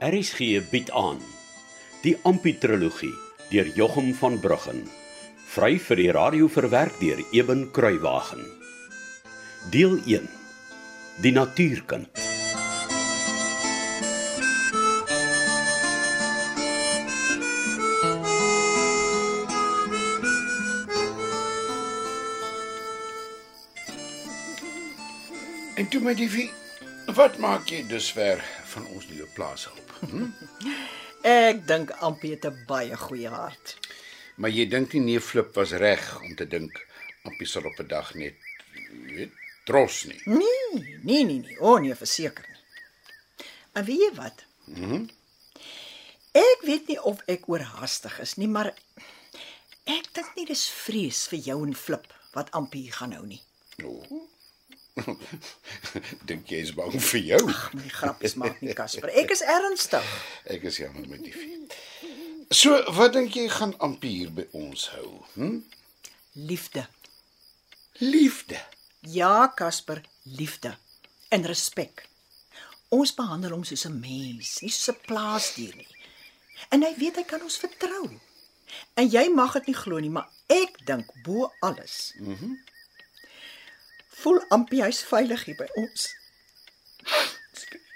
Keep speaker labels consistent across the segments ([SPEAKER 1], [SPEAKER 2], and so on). [SPEAKER 1] RSG bied aan die Amputrologie deur Jochum van Bruggen vry vir die radio verwerk deur Eben Kruiwagen Deel 1 Die natuurkind
[SPEAKER 2] En toe my diefie, wat maak jy dusver van ons nuwe plaashulp? Hm?
[SPEAKER 3] Ek dink Ampie het 'n baie goeie hart.
[SPEAKER 2] Maar jy dink nie neef Flip was reg om te dink Appie sal op 'n dag net jy weet dros nie.
[SPEAKER 3] Nee, nee, nee, nee, o nee, verseker nie. En weet jy wat? Mhm. Ek weet nie of ek oorhaastig is nie, maar ek dink nie dis vrees vir jou en Flip wat Ampie gaan hou nie.
[SPEAKER 2] O. Nou, dink jy is bang vir jou?
[SPEAKER 3] Die grappies maak nie Casper. Ek is ernstig.
[SPEAKER 2] Ek is jammer my diefie. So, wat dink jy gaan Appie hier by ons hou? Hm?
[SPEAKER 3] Liefde.
[SPEAKER 2] Liefde.
[SPEAKER 3] Ja, Casper, liefde en respek. Ons behandel hom soos 'n mens, nie soos 'n plaasdier nie. En hy weet hy kan ons vertrou. En jy mag dit nie glo nie, maar ek dink bo alles. Mhm. Mm Voel Ampie hy's veilig hier by ons.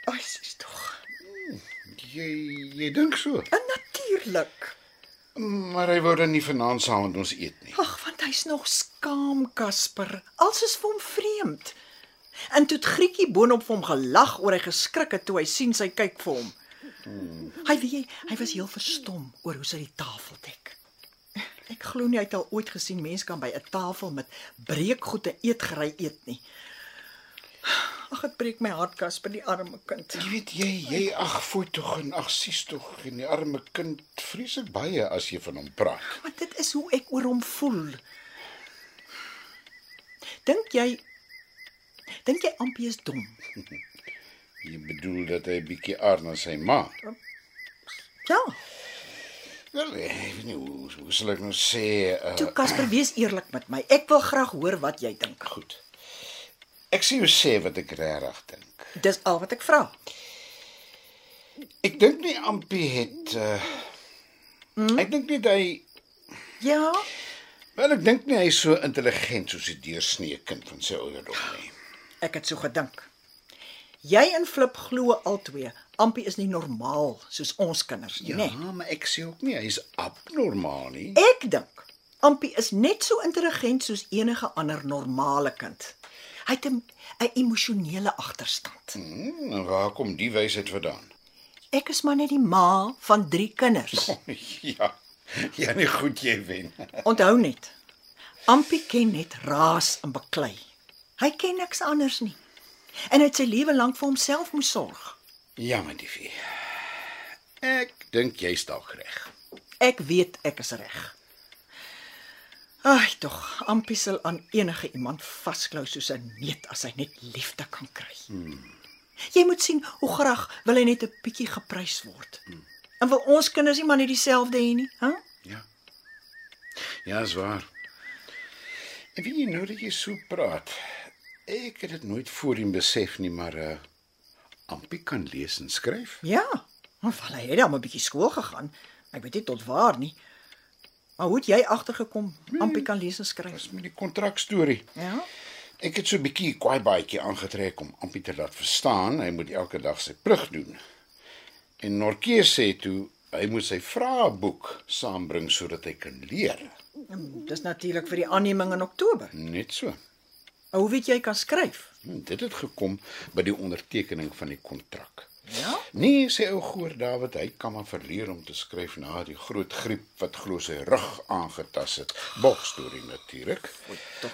[SPEAKER 3] Ai, sies tog.
[SPEAKER 2] Jy jy dink so.
[SPEAKER 3] En natuurlik.
[SPEAKER 2] Maar hy wou dan nie vanaand saam met ons eet nie.
[SPEAKER 3] Ag, want hy's nog skaam, Casper. Als is vir hom vreemd. En toe het Grietjie boonop vir hom gelag oor hy geskrik het toe hy sien sy kyk vir hom. Hy weet jy, hy was heel verstom oor hoe sy die tafel dek. Ek glo nie hy het al ooit gesien mense kan by 'n tafel met breekgoede eetgerei eet nie. Ag, dit breek my hart, Casper, die arme kind.
[SPEAKER 2] Jy weet jy, jy ag fooi tog en ag sies tog en die arme kind vrees ek baie as jy van hom praat.
[SPEAKER 3] Want dit is hoe ek oor hom voel. Dink jy dink jy Ampie is dom?
[SPEAKER 2] Jy bedoel dat hy bietjie aard na sy ma.
[SPEAKER 3] Ja.
[SPEAKER 2] Wel, eh, ek weet nie hoe, hoe sal ek nou sê uh,
[SPEAKER 3] Toe Casper, wees eerlik met my. Ek wil graag hoor wat jy dink.
[SPEAKER 2] goed. Ek sê jou sê wat ek regtig dink.
[SPEAKER 3] Dis al wat ek vra.
[SPEAKER 2] Ek dink nie Ampie het uh, hmm? ek dink nie dat hy
[SPEAKER 3] Ja.
[SPEAKER 2] wel ek dink nie hy is so intelligent soos die deursnee kind van sy ouderdom nie.
[SPEAKER 3] Ek het so gedink. Jy en Flip glo albei Ampie is nie normaal soos ons kinders nie,
[SPEAKER 2] Ja,
[SPEAKER 3] né?
[SPEAKER 2] nee. maar ek sê ook nie hy is abnormaal nie.
[SPEAKER 3] Ek dink Ampie is net so intelligent soos enige ander normale kind. Hy het 'n 'n emosionele agterstand.
[SPEAKER 2] Hmm, en waar kom die wysheid vandaan?
[SPEAKER 3] Ek is maar net die ma van 3 kinders.
[SPEAKER 2] Ja. Ja, nee, goed jy wen.
[SPEAKER 3] Onthou net. Ampie ken net raas en beklei. Hy ken niks anders nie. En hy het sy lewe lank vir homself moes sorg.
[SPEAKER 2] Ja, my diefie. Ek dink jy's dalk reg.
[SPEAKER 3] Ek weet ek is reg. Ag tog, Ampie sal aan enige iemand vasklou soos 'n neet as hy net liefde kan kry. Hmm. Jy moet sien hoe graag wil hy net 'n bietjie geprys word. Hmm. En wil ons kinders nie maar net dieselfde hê nie, hè?
[SPEAKER 2] Ja. Ja, is waar. En wie jy nou dat jy so praat. Ek het dit nooit voorheen besef nie, maar uh Ampie kan lees en skryf.
[SPEAKER 3] Ja. Maar val hy het dan 'n bietjie skool gegaan. Ek weet nie tot waar nie. Maar hoe het jy agtergekom? Ampie kan lees en skryf.
[SPEAKER 2] Dis met die kontrak storie.
[SPEAKER 3] Ja.
[SPEAKER 2] Ek het so 'n bietjie kwaai baadjie aangetrek om Ampie te laat verstaan hy moet elke dag sy plig doen. En Norke sê toe hy moet sy vraeboek saambring sodat hy kan leer.
[SPEAKER 3] en Dis natuurlik vir die aanneming in Oktober.
[SPEAKER 2] Net so.
[SPEAKER 3] Maar hoe weet jy kan skryf?
[SPEAKER 2] En dit het gekom by die ondertekening van die kontrak.
[SPEAKER 3] Ja.
[SPEAKER 2] Nee, sê ou Goor David, hy kan maar verleer om te skryf na die groot griep wat glo sy rug aangetast het. Bokstorie natuurlik.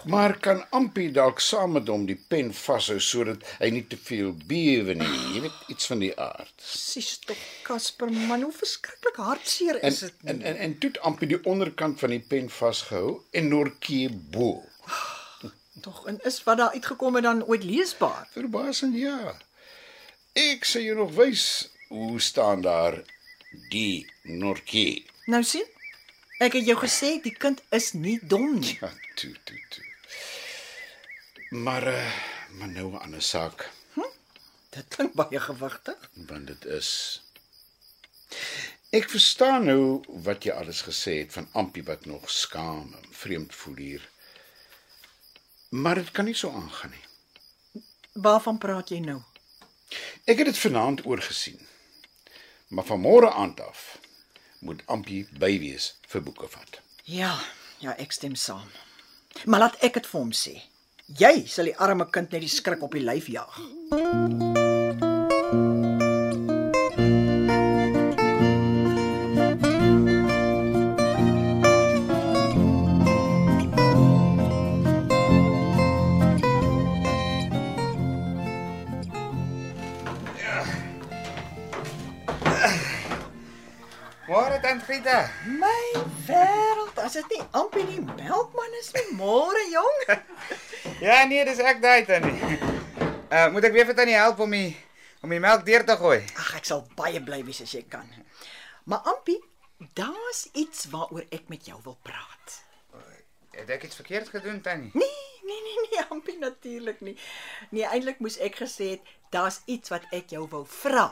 [SPEAKER 2] Maar kan Ampie dalk saam met hom die pen vashou sodat hy nie te veel bewe nie. Jy weet iets van die aard.
[SPEAKER 3] Sis tog Casper man, hoe verskriklik hartseer
[SPEAKER 2] En
[SPEAKER 3] is dit nie.
[SPEAKER 2] en en, en toe het Ampie die onderkant van die pen vasgehou en Norkie bo.
[SPEAKER 3] Tog en is wat daar uitgekom het dan ooit leesbaar?
[SPEAKER 2] Verbasend ja. Ek sê jou nog wys hoe staan daar die Norkie.
[SPEAKER 3] Nou sien? Ek het jou gesê die kind is nie dom nie.
[SPEAKER 2] Ja, toe toe toe. Maar eh maar nou 'n ander saak,
[SPEAKER 3] Dit klink baie gewigtig.
[SPEAKER 2] want dit is Ek verstaan nou wat jy alles gesê het van Ampie wat nog skaam en vreemd voel hier. Maar dit kan nie so aangaan nie.
[SPEAKER 3] Waarvan praat jy nou?
[SPEAKER 2] Ek het dit vanaand oorgesien. Maar van môre aand af moet Ampie by wees vir boeke vat.
[SPEAKER 3] Ja, ja, ek stem saam. Maar laat ek dit vir hom sê. Jy sal die arme kind net die skrik op die lyf jaag.
[SPEAKER 4] Môre tant Grieta.
[SPEAKER 3] My wêreld, as dit nie amper die melkman is nie môre, jong.
[SPEAKER 4] Ja nee, dis ek daai tannie. Uh moet ek weer vir tannie help om die om die melk deur te gooi?
[SPEAKER 3] Ag, ek sal baie bly wees as jy kan. Maar Ampie, daar's iets waaroor ek met jou wil praat.
[SPEAKER 4] Het ek iets verkeerd gedoen tannie?
[SPEAKER 3] Nee, nee, nee, nee, Ampie natuurlik nie. Nee, eintlik moes ek gesê het daar's iets wat ek jou wil vra.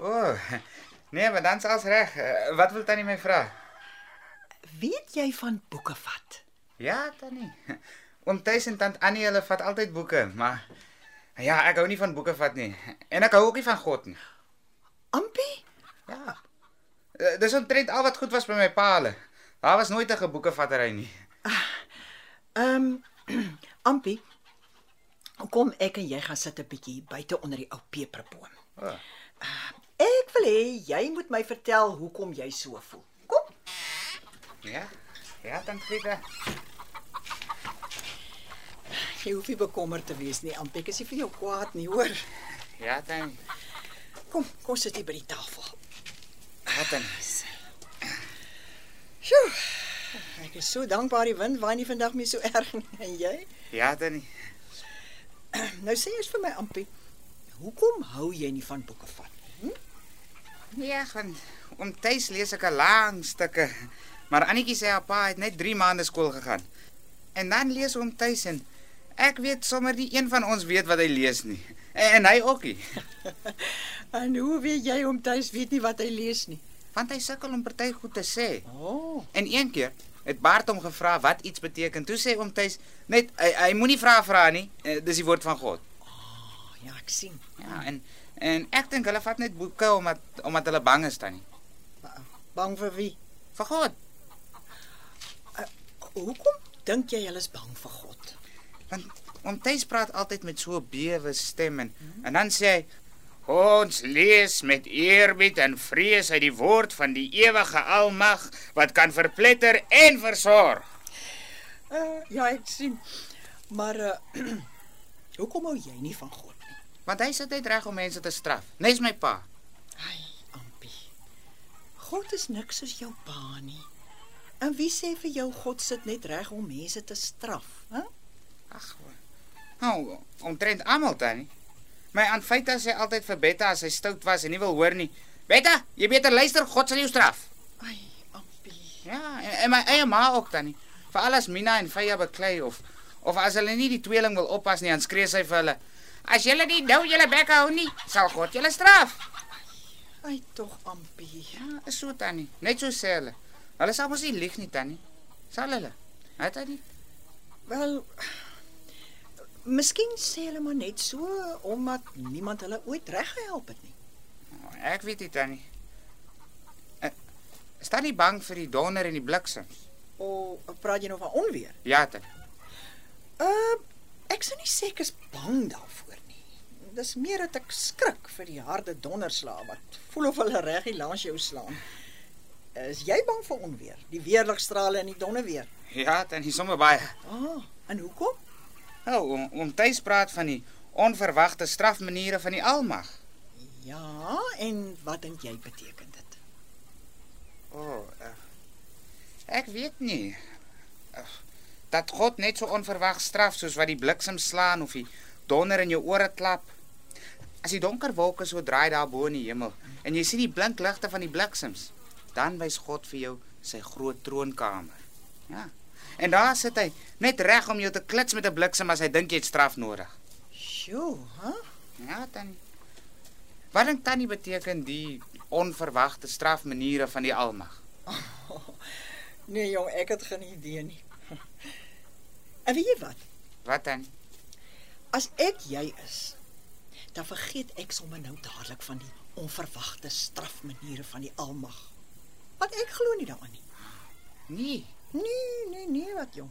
[SPEAKER 4] O. Oh, nee, maar dan's alles reg. Uh, wat wil tannie my vra?
[SPEAKER 3] Weet jy van boeke vat?
[SPEAKER 4] Ja tannie. Oom Tuis en tant Annie hulle vat altyd boeke, maar ja, ek hou nie van boeke vat nie. En ek hou ook nie van God nie.
[SPEAKER 3] Ampie?
[SPEAKER 4] Ja. Eh, Dis omtrent al wat goed was by my pa hulle. Daar was nooit 'n geboekevattery nie.
[SPEAKER 3] Ehm um, Ampie, kom ek en jy gaan sit 'n bietjie buite onder die ou peperboom.
[SPEAKER 4] O.
[SPEAKER 3] Ek wil hê jy moet my vertel hoekom jy so voel. Kom.
[SPEAKER 4] Ja. Ja, tant Grieta.
[SPEAKER 3] Jy hoef nie bekommerd te wees nie, Ampie. Ek is nie vir jou kwaad nie, hoor.
[SPEAKER 4] Ja, tannie.
[SPEAKER 3] Kom, kom sit hier by die tafel.
[SPEAKER 4] Ja, tannie.
[SPEAKER 3] Sjoe. Ek is so dankbaar die wind waai nie vandag meer so erg nie en jy.
[SPEAKER 4] Ja, tannie.
[SPEAKER 3] Nou sê eers vir my, Ampie, hoekom hou jy nie van boeke vat?
[SPEAKER 4] Nee, gaan om tuis lees ek 'n lang stukke. Maar Annetjie sê haar pa het net 3 maande skool gegaan. En dan lees hom tuis en ek weet sommer nie een van ons weet wat hy lees nie. En, en hy ook nie,
[SPEAKER 3] En hoe weet jy om tuis weet nie wat hy lees nie?
[SPEAKER 4] want hy sukkel om party goed te sê.
[SPEAKER 3] O, oh,
[SPEAKER 4] En een keer het Bart hom gevra wat iets beteken. Toe sê hom tuis net hy, hy moenie vra vra nie. eh, Dis die woord van God.
[SPEAKER 3] ja, ek sien.
[SPEAKER 4] Ja, en en ek dink hulle vat net boeke omdat omdat hulle bang is tannie.
[SPEAKER 3] Bang vir wie?
[SPEAKER 4] Vir God.
[SPEAKER 3] Hoekom dink jy hulle is bang vir God?
[SPEAKER 4] Want oom Tuis praat altyd met so 'n bewe stem en, en dan sê hy ons lees met eerbied en vrees uit die woord van die ewige Almag wat kan verpletter en versorg.
[SPEAKER 3] Uh, ja, ek sien. Maar uh, hoekom hou jy nie van God nie?
[SPEAKER 4] Want hy sit net reg om mense te straf. Nes my pa.
[SPEAKER 3] Ai, Ampie. God is niks soos jou pa nie. En wie sê vir jou God sit net reg om mense te straf, hè?
[SPEAKER 4] Ag. Nou, omtrent almal tannie. My Aunt Feita sê altyd vir Betta as hy stout was en nie wil hoor nie. Betta, jy beter luister, God sal jou straf.
[SPEAKER 3] Ai, Ampie.
[SPEAKER 4] Ja, en, en my eie ma ook tannie. Veral as Mina en Faya beklei of of as hulle nie die tweeling wil oppas nie, dan skree sy vir hulle: "As julle nie nou julle bekke hou nie, sal God julle straf."
[SPEAKER 3] Ai tog, Ampie.
[SPEAKER 4] Ja, is so tannie. Net so sê hulle. Hulle sal mos nie lieg nie tannie. Sal hulle? Het hy nie?
[SPEAKER 3] Wel, miskien sê hulle maar net so omdat niemand hulle ooit reggehelp het nie.
[SPEAKER 4] Oh, Ek weet nie tannie. Eh, Is tannie bang vir die donder en die bliksems?
[SPEAKER 3] Of praat jy nou van onweer?
[SPEAKER 4] Ja, tannie.
[SPEAKER 3] Uh, ek sou nie sê ek is bang daarvoor nie. Dis meer dat ek skrik vir die harde donderslae wat voel of hulle reg hier langs jou slaan. Is jy bang vir onweer? Die weerligstrale en die donder weer.
[SPEAKER 4] Ja, tannie, sommer baie.
[SPEAKER 3] Ah, en hoekom?
[SPEAKER 4] Nou, om, om tuis praat van die onverwagte strafmaniere van die Almag.
[SPEAKER 3] Ja, en wat dink jy beteken dit?
[SPEAKER 4] O, oh, ek weet nie. Ag, Dat God net so onverwags straf soos wat die bliksem slaan of die donder in jou ore klap. As die donker wolke so draai daar bo in die hemel en jy sien die blink ligte van die bliksems, dan wys God vir jou sy groot troonkamer. Ja. En daar sit hy net reg om jou te klits met 'n bliksem as hy dink jy het straf nodig.
[SPEAKER 3] Sjoe, hè?
[SPEAKER 4] Ja, tannie. Wat dink tannie beteken die onverwagte strafmaniere van die Almag.
[SPEAKER 3] Nee jong, ek het geen idee nie. En weet jy wat?
[SPEAKER 4] Wat dan?
[SPEAKER 3] As ek jy is, dan vergeet ek sommer nou dadelik van die onverwagte strafmaniere van die Almag. Want ek glo nie daaraan nie.
[SPEAKER 4] Nee,
[SPEAKER 3] Nee, nee, nee, wat jong.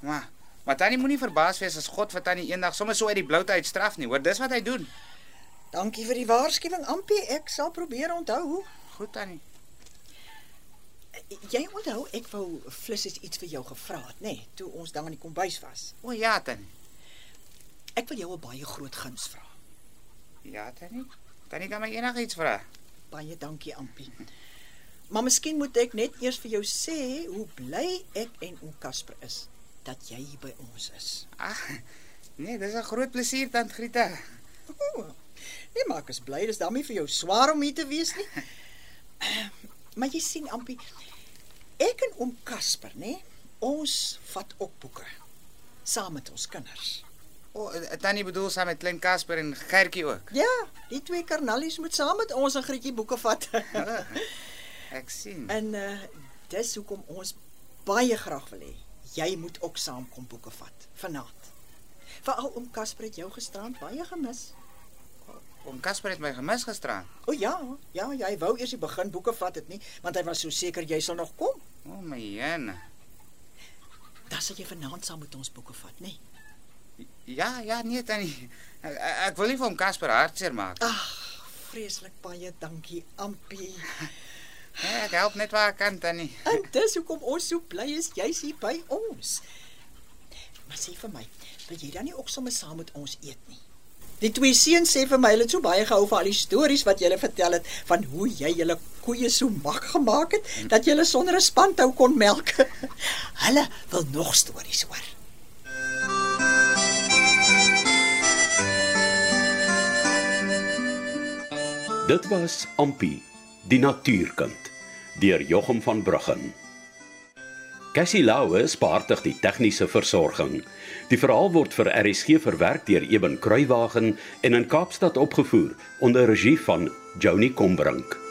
[SPEAKER 4] maar maar tannie moenie verbaas wees as God vir tannie eendag sommer so uit die bloute uit straf nie, hoor. Dis wat hy doen.
[SPEAKER 3] Dankie vir die waarskuwing, Ampie. Ek sal probeer onthou.
[SPEAKER 4] Goed tannie.
[SPEAKER 3] Jy onthou ek wou flissies iets vir jou gevra het, nê, nee, toe ons dan in die kombuis was.
[SPEAKER 4] O ja, tannie.
[SPEAKER 3] Ek wil jou 'n baie groot guns vra.
[SPEAKER 4] Ja, tannie. Tannie kan my enigiets vra.
[SPEAKER 3] Baie dankie, Ampie. Maar miskien moet ek net eers vir jou sê hoe bly ek en oom Casper is dat jy hier by ons is.
[SPEAKER 4] Ag. Nee, dis 'n groot plesier tant Grieta.
[SPEAKER 3] O, nee, maar ek is bly dis daarmee vir jou swaar om hier te wees nie. Maar jy sien, Ampie, ek en oom Casper, nê, nee, ons vat ook boeke saam met ons kinders.
[SPEAKER 4] O, eh, tannie bedoel saam met klein Casper en Gertjie ook.
[SPEAKER 3] Ja, die twee karnallies moet saam met ons 'n grietjie boeke vat.
[SPEAKER 4] Ek sien.
[SPEAKER 3] En uh dis hoekom ons baie graag wil hê jy moet ook saamkom boeke vat vanaand. Veral oom Casper het jou gisterand baie gemis.
[SPEAKER 4] Oom Casper het my gemis gisteraan.
[SPEAKER 3] O ja, ja, ja, hy wou eers die begin boeke vat het nie, want hy was so seker jy sal nog kom.
[SPEAKER 4] O my jene.
[SPEAKER 3] Dan sal jy vanaand saam met ons boeke vat, nê? Nee?
[SPEAKER 4] Ja, ja, nee tannie. Ek, ek wil nie vir oom Casper hartseer maak.
[SPEAKER 3] Ag, vreeslik baie dankie, Ampie.
[SPEAKER 4] Nee, ek help net waar ek kan tannie.
[SPEAKER 3] En dis hoekom ons so bly is jy's hier by ons. Maar sê vir my, wil jy dan nie ook sommer saam met ons eet nie? Die twee seuns sê vir my hulle het so baie gehou van al die stories wat jy hulle vertel het van hoe jy julle koeie so mak gemaak het dat jy hulle sonder 'n spanhou kon melk. hulle wil nog stories hoor.
[SPEAKER 1] Dit was Ampi, die natuurkind, deur Jochum van Bruggen. Cassie Lauwe spaartig die tegniese versorging. Die verhaal word vir RSG verwerk deur Eben Kruiwagen en in Kaapstad opgevoer onder regie van Joni Combrink.